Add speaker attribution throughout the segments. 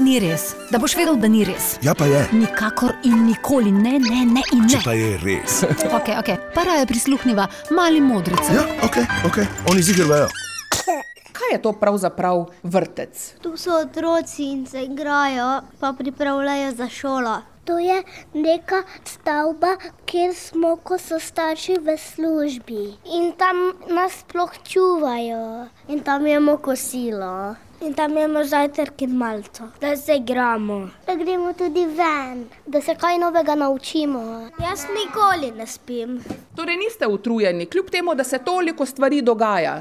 Speaker 1: ni res, da boš vedel, da ni res.
Speaker 2: Ja, pa je.
Speaker 1: Nikakor in nikoli ne, ne, ne in
Speaker 2: Če
Speaker 1: ne.
Speaker 2: pa je res.
Speaker 1: Okay, okay. Para je prisluhnila mali modrici.
Speaker 2: Ja, ok, ok, oni zigrajo.
Speaker 3: Kaj je to pravzaprav vrtec?
Speaker 4: Tu so otroci in se igrajo, pa pripravljajo za šolo.
Speaker 5: To je neka stavba, kjer smo, ko so starši v službi in tam nas sploh čuvajo. In tam imamo kosilo, in tam imamo zajtrk in malco, da se igramo. Da gremo tudi ven, da se kaj novega naučimo. Jaz nikoli ne spim.
Speaker 3: Torej niste utrujeni, kljub temu, da se toliko stvari dogaja.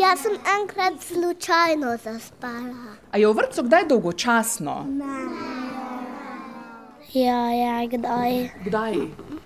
Speaker 5: Jaz sem enkrat slučajno zaspala.
Speaker 3: A je v vrtcu kdaj dolgočasno?
Speaker 5: Ja, ja, kdaj?
Speaker 3: Kdaj?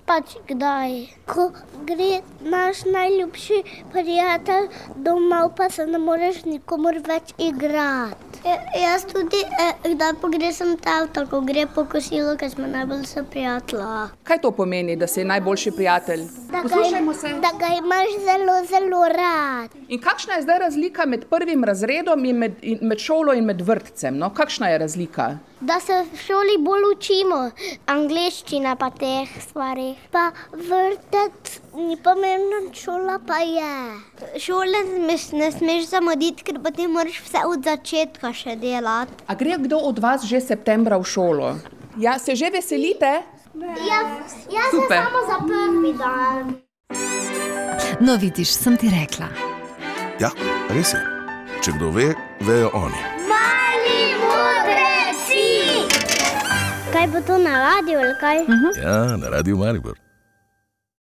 Speaker 5: Pač kdaj. Ko gre naš najljubši prijatelj domov, pa se ne moreš nikomor več igrati.
Speaker 4: Ja, Jaz tudi, eh, kdaj pogrešam ta avto, ko gre po kosilu, ker smo najbolj so prijatelji.
Speaker 3: Kaj to pomeni, da si najboljši prijatelj? Poslušajmo se.
Speaker 5: da ga imaš zelo, zelo rad.
Speaker 3: In kakšna je zdaj razlika med prvim razredom in med, in med šolo in med vrtcem? No, kakšna je razlika?
Speaker 5: Da se v šoli bolj učimo, angliščina pa teh stvari. Pa vrtec ni pomembno, šola pa je.
Speaker 4: Šole smeš, ne smeš zamuditi, ker potem moraš vse od začetka še delati.
Speaker 3: A gre kdo od vas že septembra v šolo? Ja, se že veselite?
Speaker 5: Jaz, jaz
Speaker 3: sem Super. samo
Speaker 5: za prvi dan.
Speaker 1: No, vidiš, sem ti rekla.
Speaker 2: Ja, res je. Če kdo ve, vejo oni.
Speaker 5: Mali modreci! Kaj bo to na radiju ali kaj?
Speaker 2: Ja, na radiju Maribor.